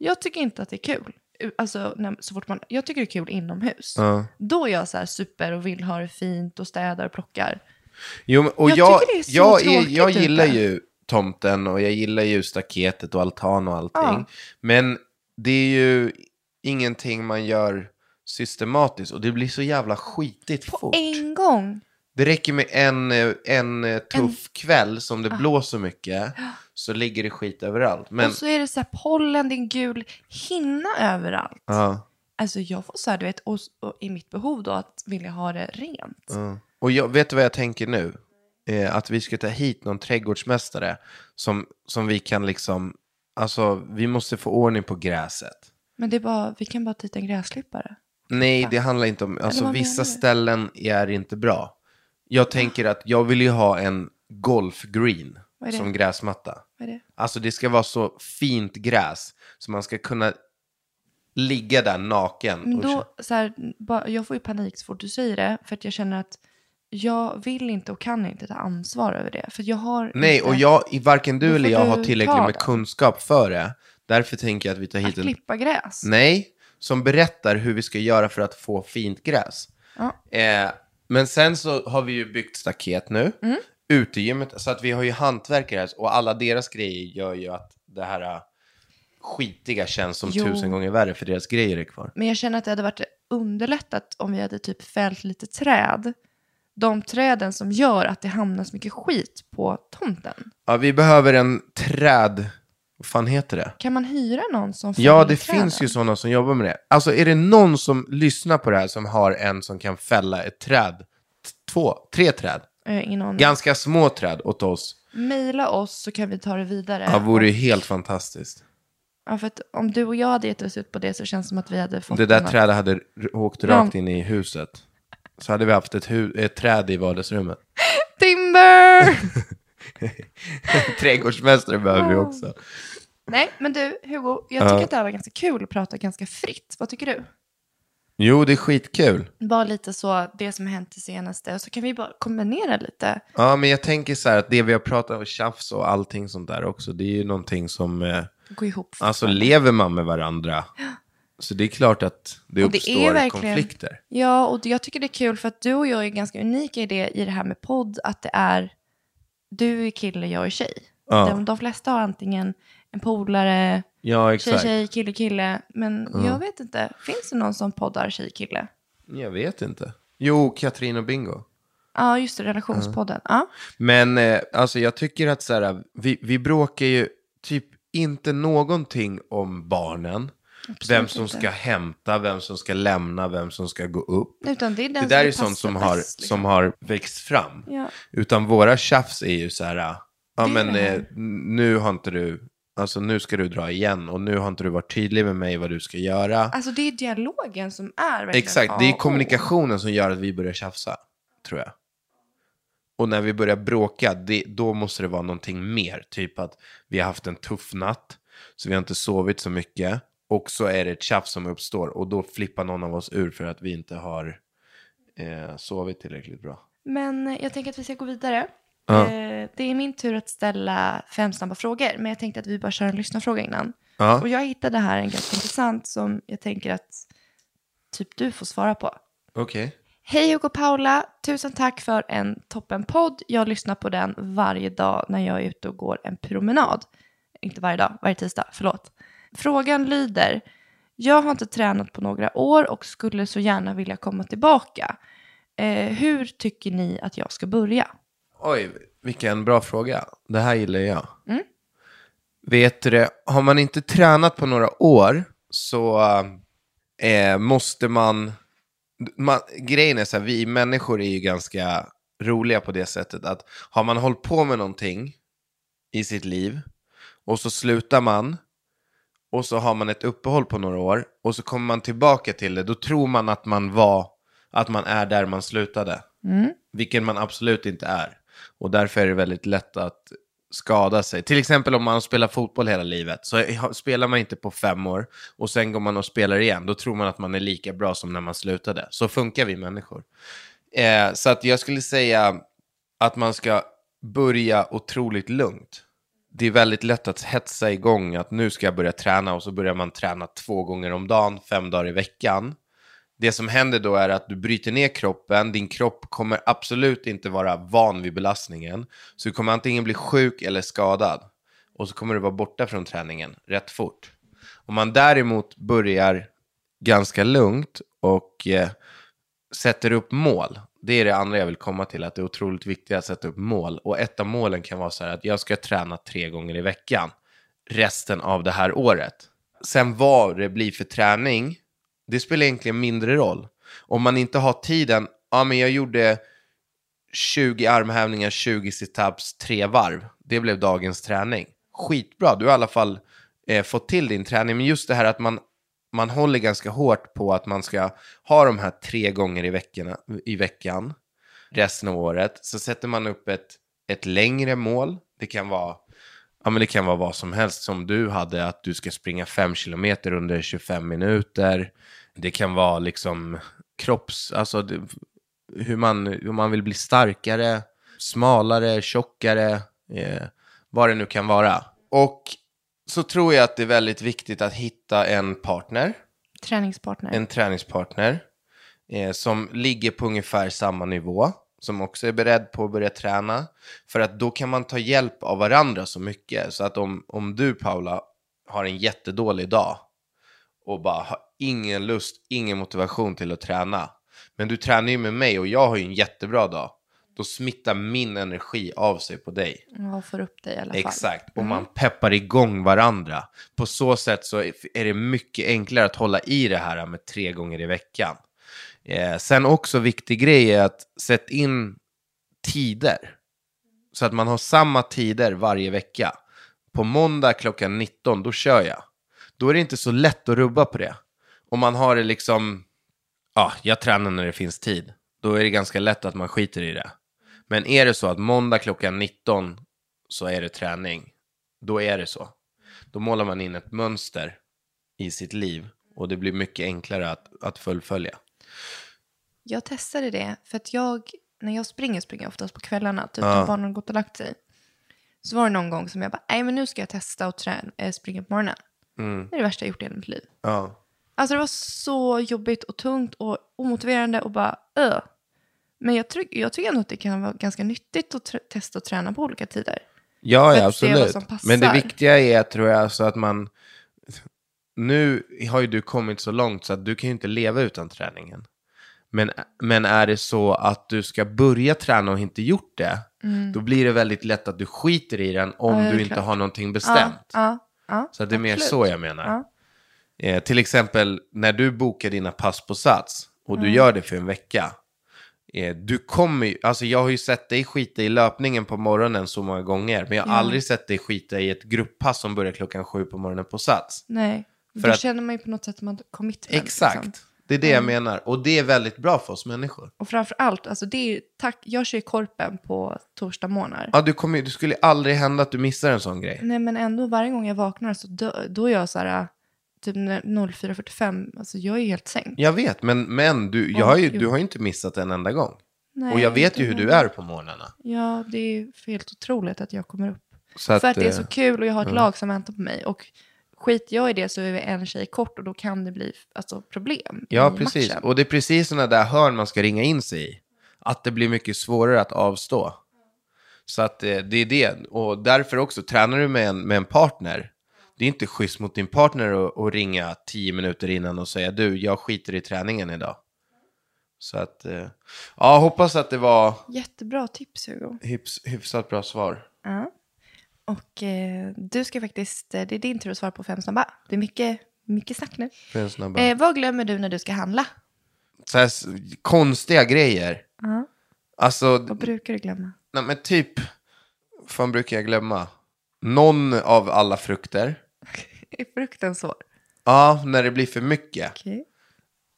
S2: Jag tycker inte att det är kul. U- Alltså, när, så fort man, jag tycker det är kul inomhus.
S1: Ja.
S2: Då är jag så här super och vill ha det fint och städar och plockar.
S1: Jo, men- och
S2: Jag
S1: jag,
S2: tycker det är så
S1: jag, är-
S2: tråkigt
S1: jag gillar
S2: ute.
S1: ju tomten och jag gillar ju staketet och altan och allting.
S2: Ja.
S1: Men det är ju ingenting man gör systematiskt och det blir så jävla skitigt fort.
S2: En gång.
S1: Det räcker med en, eh, en eh, tuff kväll som det blåser mycket så ligger det skit överallt. Men,
S2: Ah. Och så är det så här pollen, det är en gul hinna överallt.
S1: ja,
S2: Alltså jag får så här, du vet, och, och i mitt behov då att vilja ha det rent.
S1: ja. och jag, vet du vad jag tänker nu? Eh, att vi ska ta hit någon trädgårdsmästare som, som vi kan liksom, alltså vi måste få ordning på gräset.
S2: Men det är bara, vi kan bara ta hit en gräsklippare.
S1: Nej, det handlar inte om, alltså
S2: vad
S1: vissa
S2: menar du?
S1: ställen är inte bra. Jag tänker att jag vill ju ha en golfgreen
S2: Vad är det?
S1: som gräsmatta.
S2: Vad är det?
S1: Alltså det ska vara så fint gräs så man ska kunna ligga där naken.
S2: Men
S1: och
S2: då,
S1: kö-
S2: så här, bara, jag får ju panik så fort du säger det. För att jag känner att jag vill inte och kan inte ta ansvar över det. För jag har
S1: Nej,
S2: inte
S1: och jag, i- varken
S2: Då
S1: du eller
S2: får
S1: jag
S2: du
S1: har tillräckligt
S2: ta
S1: med
S2: den.
S1: kunskap för det. Därför tänker jag att vi tar
S2: att
S1: hit en...
S2: klippa gräs.
S1: Nej, som berättar hur vi ska göra för att få fint gräs. Eh, men sen så har vi ju byggt staket nu,
S2: Mm.
S1: utegymmet, så att vi har ju hantverkare här och alla deras grejer gör ju att det här eh, skitiga känns som
S2: Jo.
S1: tusen gånger värre för deras grejer är kvar.
S2: Men jag känner att det hade varit underlättat om vi hade typ fällt lite träd. De träden som gör att det hamnar så mycket skit på tomten.
S1: Ja, vi behöver en träd... Vad fan heter det?
S2: Kan man hyra någon som
S1: Ja,
S2: fäller
S1: det
S2: träden?
S1: finns ju sådana som jobbar med det. Alltså, är det någon som lyssnar på det här som har en som kan fälla ett träd? T- Två, tre träd.
S2: Eh, Ingen aning.
S1: Ganska små träd åt oss.
S2: Mejla oss så kan vi ta det vidare.
S1: Det vore ju helt fantastiskt.
S2: ja, för att om du och jag hade gett oss ut på det så känns det som att vi hade fått
S1: Det där
S2: någon-
S1: trädet hade r- åkt
S2: Ja.
S1: rakt in i huset. Så hade vi haft ett, hu- ett träd i vardagsrummet.
S2: Timber!
S1: Trädgårdsmästare behöver vi också.
S2: Nej, men du Hugo, jag tycker att det här var ganska kul att prata ganska fritt. Vad tycker du?
S1: Jo, det är skitkul.
S2: Bara lite så, det som har hänt det senaste. Och så kan vi bara kombinera lite.
S1: Ja, men jag tänker så här att det vi har pratat om, tjafs och allting sånt där också, det är ju någonting som... Eh,
S2: Gå ihop.
S1: Alltså lever man med varandra så det är klart att det
S2: Och det
S1: uppstår
S2: är verkligen-
S1: konflikter.
S2: Ja, och jag tycker det är kul för att du och jag är ganska unika i det, i det här med podd, att det är du är kille, jag är tjej.
S1: Ja.
S2: De, de flesta har antingen en polare,
S1: Ja,
S2: tjej,
S1: exakt.
S2: tjej, kille, kille. Men jag vet inte, finns det någon som poddar tjej, kille?
S1: Jag vet inte. Jo, Katrin och Bingo.
S2: Ja, just det, relationspodden. Ja.
S1: Men eh, alltså jag tycker att så här, vi, vi bråkar ju typ inte någonting om barnen. vem som
S2: inte.
S1: ska hämta, vem som ska lämna, vem som ska gå upp.
S2: Utan det är den
S1: Det
S2: som
S1: där är
S2: passar
S1: sånt som har,
S2: bäst, liksom.
S1: som har växt fram.
S2: Ja.
S1: Utan våra tjafs är ju så här, ah,
S2: Det
S1: ja
S2: är
S1: men
S2: det här.
S1: eh, nu har inte du, alltså nu ska du dra igen och nu har inte du varit tydlig med mig vad du ska göra.
S2: Alltså det är dialogen som är verkligen
S1: Exakt, det
S2: A
S1: är
S2: och O.
S1: kommunikationen som gör att vi börjar tjafsa, tror jag. Och när vi börjar bråka, det, då måste det vara någonting mer. Typ att vi har haft en tuff natt, så vi har inte sovit så mycket. Och så är det ett tjafs som uppstår och då flippar någon av oss ur för att vi inte har eh, sovit tillräckligt bra.
S2: Men jag tänker att vi ska gå vidare.
S1: Ja.
S2: Eh, Det är min tur att ställa fem snabba frågor, men jag tänkte att vi bara kör en lyssnarfråga innan.
S1: Ja,
S2: Och jag hittade här en ganska intressant som jag tänker att typ du får svara på.
S1: okej.
S2: Hej Hugo och Paula, tusen tack för en toppenpodd. Jag lyssnar på den varje dag när jag är ute och går en promenad. Inte varje dag, varje tisdag, förlåt. Frågan lyder, jag har inte tränat på några år och skulle så gärna vilja komma tillbaka. Eh, hur tycker ni att jag ska börja?
S1: Oj, vilken bra fråga. Det här gillar jag. Vet du det, har man inte tränat på några år så eh, måste man, man... Grejen är så här, vi människor är ju ganska roliga på det sättet att har man hållit på med någonting i sitt liv och så slutar man och så har man ett uppehåll på några år och så kommer man tillbaka till det, då tror man att man var, att man är där man slutade. Vilken man absolut inte är. Och därför är det väldigt lätt att skada sig. Till exempel om man spelar fotboll hela livet, så har- spelar man inte på fem år och sen går man och spelar igen, då tror man att man är lika bra som när man slutade. Så funkar vi människor. Eh, så att jag skulle säga att man ska börja otroligt lugnt. Det är väldigt lätt att hetsa igång att nu ska jag börja träna och så börjar man träna två gånger om dagen, fem dagar i veckan. Det som händer då är att du bryter ner kroppen, din kropp kommer absolut inte vara van vid belastningen. Så du kommer antingen bli sjuk eller skadad. Och så kommer du vara borta från träningen rätt fort. Om man däremot börjar ganska lugnt och eh, sätter upp mål. Det är det andra jag vill komma till, att det är otroligt viktigt att sätta upp mål. Och ett av målen kan vara så här att jag ska träna tre gånger i veckan resten av det här året. Sen vad det blir för träning, det spelar egentligen mindre roll. Om man inte har tiden, ja men jag gjorde 20 armhävningar, 20 situps, tre varv. Det blev dagens träning. Skitbra, du har i alla fall eh, fått till din träning. Men just det här att man, man håller ganska hårt på att man ska ha de här tre gånger i, veckorna, i veckan resten av året. Så sätter man upp ett, ett längre mål. Det kan vara Ja, men det kan vara vad som helst som du hade, att du ska springa 5 kilometer under 25 minuter. Det kan vara liksom kropps, alltså det, hur, man, hur man vill bli starkare, smalare, tjockare, eh, vad det nu kan vara. Och så tror jag att det är väldigt viktigt att hitta en partner,
S2: Träningspartner.
S1: en träningspartner eh, som ligger på ungefär samma nivå, som också är beredd på att börja träna. För att då kan man ta hjälp av varandra så mycket. Så att om, om du, Paula, har en jättedålig dag och bara har ingen lust, ingen motivation till att träna. Men du tränar ju med mig och jag har ju en jättebra dag. Då smittar min energi av sig på dig.
S2: Ja, får upp dig i alla fall. Mm.
S1: Exakt, och man peppar igång varandra. På så sätt så är det mycket enklare att hålla i det här med tre gånger i veckan. Eh, sen också viktig grej är att sätta in tider. Så att man har samma tider varje vecka. På måndag klockan 19, då kör jag. Då är det inte så lätt att rubba på det. Om man har det liksom, ja, jag tränar när det finns tid. Då är det ganska lätt att man skiter i det. Men är det så att måndag klockan 19 så är det träning, då är det så. Då målar man in ett mönster i sitt liv och det blir mycket enklare att, att fullfölja.
S2: Jag testade det för att jag, när jag springer springer jag oftast på kvällarna, typ
S1: Ja.
S2: när barnen har gått och lagt sig. Så var det någon gång som jag bara, nej men nu ska jag testa och trän- eh, springa på morgonen.
S1: Mm.
S2: Det är det värsta jag gjort i hela mitt liv.
S1: Ja.
S2: Alltså det var så jobbigt och tungt och omotiverande och bara öh. Men jag, tryck, jag tycker ändå att det kan vara ganska nyttigt att tr- testa och träna på olika tider.
S1: Ja,
S2: För
S1: ja
S2: att se vad
S1: absolut.
S2: som passar.
S1: Men det viktiga är, tror jag, alltså att man... Nu har ju du kommit så långt så att du kan ju inte leva utan träningen. Men, men är det så att du ska börja träna och inte gjort det, då blir det väldigt lätt att du skiter i den om
S2: Mm. Ja, ja,
S1: du
S2: det är
S1: inte
S2: klart.
S1: har någonting bestämt.
S2: Ja, ja, ja,
S1: Så att det är mer
S2: absolut.
S1: så jag menar. Eh, till exempel när du bokar dina pass på Sats och
S2: Mm.
S1: du gör det för en vecka. Eh, du kommer ju, alltså jag har ju sett dig skita i löpningen på morgonen så många gånger, men jag har aldrig sett dig skita i ett grupppass som börjar klockan sju på morgonen på Sats.
S2: Nej,
S1: För
S2: då
S1: att-
S2: känner man ju på något sätt att man har commitment.
S1: Exakt,
S2: Liksom.
S1: det är det jag menar. Och det är väldigt bra för oss människor.
S2: Och framför allt, alltså det är ju tack, jag kör ju korpen på torsdag morgnar.
S1: Ja, du kommer, ju- det skulle aldrig hända att du missar en sån grej.
S2: Nej men ändå varje gång jag vaknar så dö, då är jag så här, typ när 04.45, alltså jag är ju helt sänkt.
S1: Jag vet, men, men du, jag
S2: Åh,
S1: har ju,
S2: gud.
S1: du har ju inte missat en enda gång.
S2: Nej,
S1: och jag vet ju hur
S2: inte
S1: du
S2: heller.
S1: är på morgnarna.
S2: Ja, det är ju helt otroligt att jag kommer upp.
S1: Så att,
S2: för att det är
S1: eh,
S2: så kul och jag har ett lag som väntar på mig. Och skiter jag i det så är vi en tjej kort och då kan det bli alltså, problem
S1: Ja,
S2: i
S1: precis.
S2: matchen.
S1: Och det är precis sådana där hörn man ska ringa in sig i. Att det blir mycket svårare att avstå. Så att eh, det är det. Och därför också, tränar du med en, med en partner, det är inte schysst mot din partner att, att ringa tio minuter innan och säga du, jag skiter i träningen idag. Så att, eh, ja, hoppas att det var
S2: Jättebra tips Hugo.
S1: hyfs, hyfsat bra svar.
S2: Ja. Och eh, du ska faktiskt, eh, det är din tur att svara på fem snabba. Det är mycket, mycket snack nu.
S1: För en snabbare.
S2: Eh, vad glömmer du när du ska handla?
S1: Så här, s- konstiga grejer.
S2: Ja.
S1: Alltså,
S2: Vad brukar du glömma?
S1: Nej men typ, fan brukar jag glömma? Någon av alla frukter.
S2: Är frukten svår?
S1: Ja, när det blir för mycket.
S2: Okej.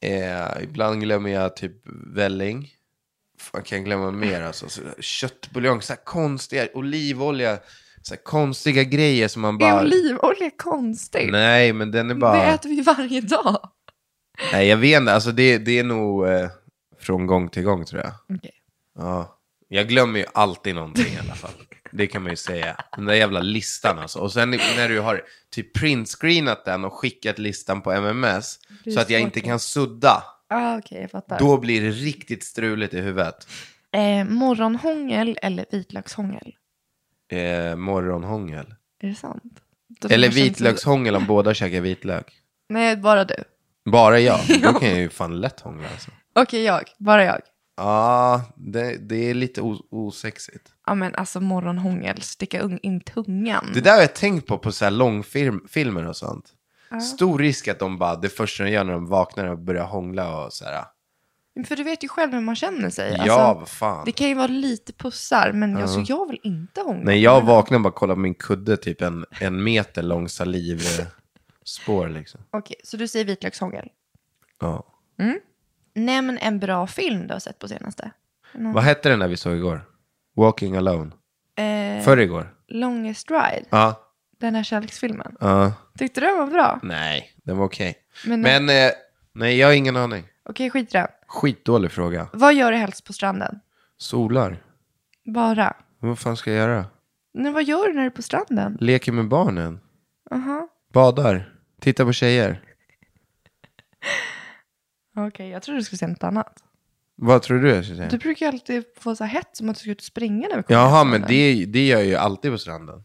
S1: Eh, ibland glömmer jag typ välling. Fan kan jag glömma mer alltså. Så, köttbuljong, så här konstiga, olivolja, så här konstiga grejer som man bara...
S2: Är olivolja konstigt?
S1: Nej men den är
S2: Det
S1: bara...
S2: äter vi ju varje dag.
S1: Nej jag vet inte, alltså det, det är nog eh, från gång till gång tror jag.
S2: Okej.
S1: Ja. Jag glömmer ju alltid någonting i alla fall. Det kan man ju säga. Den där jävla listan alltså. Och sen när du har typ printscreenat den och skickat listan på MMS
S2: Det är
S1: så att jag
S2: svårt.
S1: inte kan sudda.
S2: Ah, Okej, jag fattar.
S1: Då blir det riktigt struligt i huvudet.
S2: Eh, morgonhångel eller vitlökshångel?
S1: Eh, morgonhångel.
S2: Är det sant? Då får
S1: Eller
S2: man känna sig-
S1: vitlökshångel om båda käkar vitlök.
S2: Nej, bara du.
S1: Bara jag. Då kan jag ju fan lätt hångla alltså.
S2: Okej, jag. Bara jag.
S1: Ja, det, det är lite o- osexigt.
S2: Ja, men alltså morgonhångel, sticka un- in tungan.
S1: Det där har jag tänkt på på så här långfilmer och sånt. Stor risk att de bara, det första de gör när de vaknar och börjar hångla och så här.
S2: För du vet ju själv hur man känner sig. Alltså,
S1: ja, vad fan.
S2: Det kan ju vara lite pussar, men alltså, jag vill inte hångla.
S1: När jag vaknar och bara kollar på min kudde, typ en, en meter lång salivspår liksom.
S2: Okej, så du säger vitlökshångel.
S1: Ja.
S2: Nämn en bra film du har sett på senaste. Mm.
S1: Vad hette den där vi såg igår? Walking Alone.
S2: Eh,
S1: Förr igår?
S2: Longest Ride,
S1: Ja.
S2: den här kärleksfilmen.
S1: ja.
S2: Tyckte du den var bra?
S1: Nej, den var okej.
S2: Men-
S1: Men, eh, nej, jag har ingen aning.
S2: Okej, skit i den.
S1: Skitdålig fråga.
S2: Vad gör du helst på stranden?
S1: Solar.
S2: Bara.
S1: Vad fan ska jag göra?
S2: Men vad gör du när du är på stranden?
S1: Leker med barnen. Badar. Tittar på tjejer.
S2: Okej, jag trodde du skulle säga något annat.
S1: Vad tror du jag ska säga?
S2: Du brukar ju alltid få så här hett som att du ska ut och springa när vi kommer
S1: Jaha,
S2: hem.
S1: men det, det gör jag ju alltid på stranden.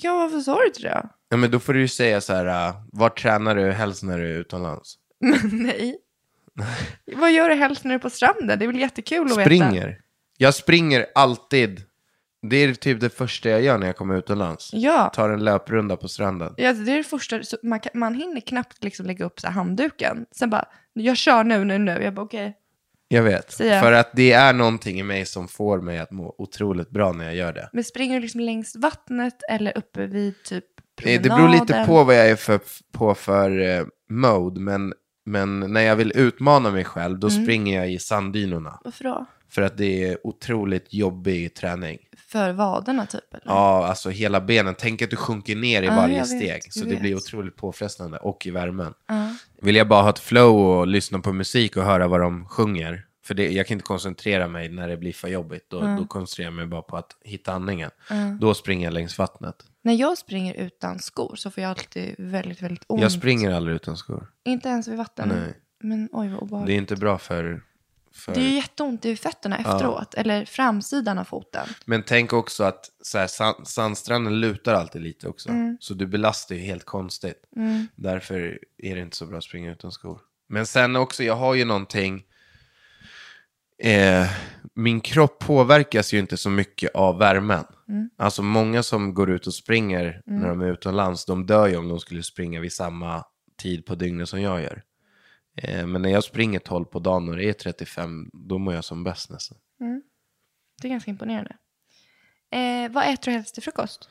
S2: Ja, varför sa du inte det?
S1: Ja, men då får du ju säga så här, uh, var tränar du helst när du är utomlands?
S2: Nej. vad gör du helst när du är på stranden? Det är väl jättekul att veta.
S1: Springer. Jag springer alltid. Det är typ det första jag gör när jag kommer utomlands.
S2: Ja.
S1: Tar en löprunda på stranden.
S2: Ja, det är det första, så man, kan, man hinner knappt liksom lägga upp så här handduken. Sen bara, jag kör nu, nu, nu. Jag bara okej.
S1: Jag vet.
S2: Säga.
S1: För att det är någonting i mig som får mig att må otroligt bra när jag gör det.
S2: Men springer du liksom längs vattnet eller uppe vid typ
S1: Eh, Det
S2: promenaden?
S1: beror lite på vad jag är för, på för eh, mode, men, men när jag vill utmana mig själv då
S2: Mm.
S1: springer jag i sanddynerna.
S2: Varför då?
S1: För att det är otroligt jobbig träning.
S2: För vaderna typ? Eller?
S1: Ja, alltså hela benen. Tänk att du sjunker ner i
S2: Ja,
S1: varje
S2: jag vet,
S1: steg.
S2: jag
S1: så det
S2: vet.
S1: blir otroligt påfrestande och i värmen. Vill jag bara ha ett flow och lyssna på musik och höra vad de sjunger. För det, jag kan inte koncentrera mig när det blir för jobbigt. Då, då koncentrerar jag mig bara på att hitta andningen. Då springer jag längs vattnet.
S2: När jag springer utan skor så får jag alltid väldigt, väldigt ont.
S1: Jag springer aldrig utan skor.
S2: Inte ens vid vatten.
S1: Nej.
S2: Men oj vad
S1: Det är
S2: obehagligt.
S1: inte bra för, För...
S2: Det är ju jätteont i fötterna efteråt, eller framsidan av foten.
S1: Men tänk också att så här, sand, sandstranden lutar alltid lite också. Så du belastar ju helt konstigt. Därför är det inte så bra att springa utan skor. Men sen också, jag har ju någonting. Eh, min kropp påverkas ju inte så mycket av värmen. Alltså många som går ut och springer när de är utomlands, de dör ju om de skulle springa vid samma tid på dygnet som jag gör. Eh, men när jag springer 12 på dagen och det är 35, då mår jag som bäst nästan.
S2: Det är ganska imponerande. Eh, vad äter du helst till frukost?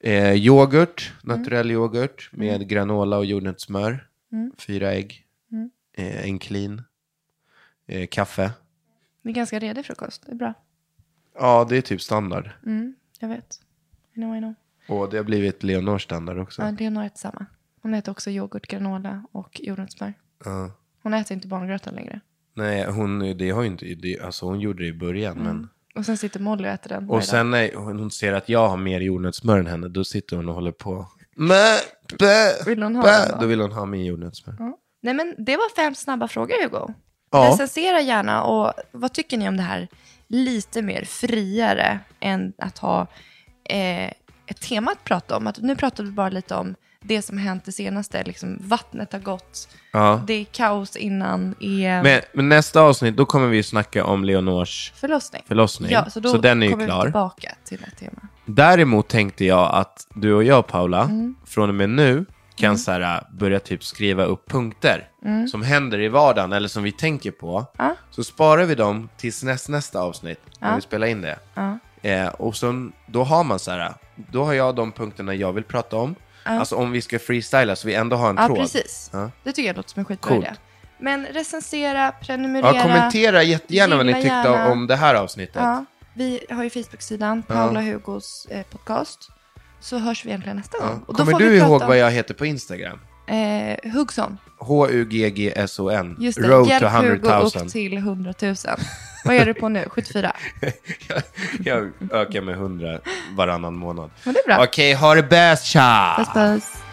S1: Eh, yoghurt,
S2: Mm.
S1: naturell yoghurt med granola och jordnötssmör.
S2: Mm.
S1: Fyra ägg. Eh, en clean. Eh, kaffe.
S2: Det är ganska redig frukost, det är bra.
S1: Ja, det är typ standard.
S2: Mm, jag vet. I know, I know.
S1: Och det har blivit Leonors standard också.
S2: Ja, Leonor äter samma. Hon äter också yoghurt, granola och jordnötssmör.
S1: Ja.
S2: Hon äter inte barngröta längre.
S1: Nej, hon, det har ju inte, det, alltså hon gjorde det i början.
S2: Mm.
S1: Men,
S2: Och sen sitter Molly och äter den varje
S1: och
S2: dag.
S1: sen när hon hon ser att jag har mer jordnötssmör än henne, då sitter hon och håller på. Mä, bä,
S2: Vill hon ha
S1: bä.
S2: den då?
S1: Då vill hon ha min jordnötssmör.
S2: Ja. Nej, men det var fem snabba frågor, Hugo.
S1: Ja.
S2: Recensera gärna och vad tycker ni om det här lite mer friare än att ha eh, ett tema att prata om? Att nu pratar vi bara lite om det som hänt det senaste, liksom vattnet har gått,
S1: Ja.
S2: det är kaos innan EM,
S1: Men, men nästa avsnitt, då kommer vi ju snacka om Leonors
S2: förlossning.
S1: förlossning.
S2: Ja, så då
S1: Så den är ju
S2: kommer vi
S1: klar.
S2: tillbaka till det här temat.
S1: Däremot tänkte jag att du och jag, Paula,
S2: Mm.
S1: från och med nu kan så här, börja typ skriva upp punkter
S2: Mm.
S1: som händer i vardagen eller som vi tänker på. Så sparar vi dem tills näst, nästa avsnitt, när vi spelar in det. Eh, och sen, då har man så här, då har jag de punkterna jag vill prata om. Alltså om vi ska freestyla så vi ändå har en
S2: Ja,
S1: tråd.
S2: precis.
S1: Ja.
S2: Det tycker jag låter som en skitbra
S1: Coolt.
S2: idé. Men recensera, prenumerera.
S1: Ja, kommentera jättegärna vad ni
S2: Gilla
S1: tyckte
S2: gärna.
S1: om det här avsnittet.
S2: Ja, vi har ju Facebook-sidan, Paula Hugos eh, podcast. Så hörs vi egentligen nästa gång. Och då
S1: Kommer
S2: får
S1: du
S2: vi prata
S1: ihåg
S2: om-
S1: vad jag heter på Instagram?
S2: Eh, Hugson.
S1: H-U-G-G-S-O-N.
S2: Just det.
S1: Road
S2: Hjälp
S1: to 100
S2: Hugo
S1: 000.
S2: upp till 100 000. Vad är du på nu? 74?
S1: jag, jag ökar med 100 varannan månad.
S2: Men det är bra.
S1: Okej, ha det bäst tja!
S2: Puss, puss.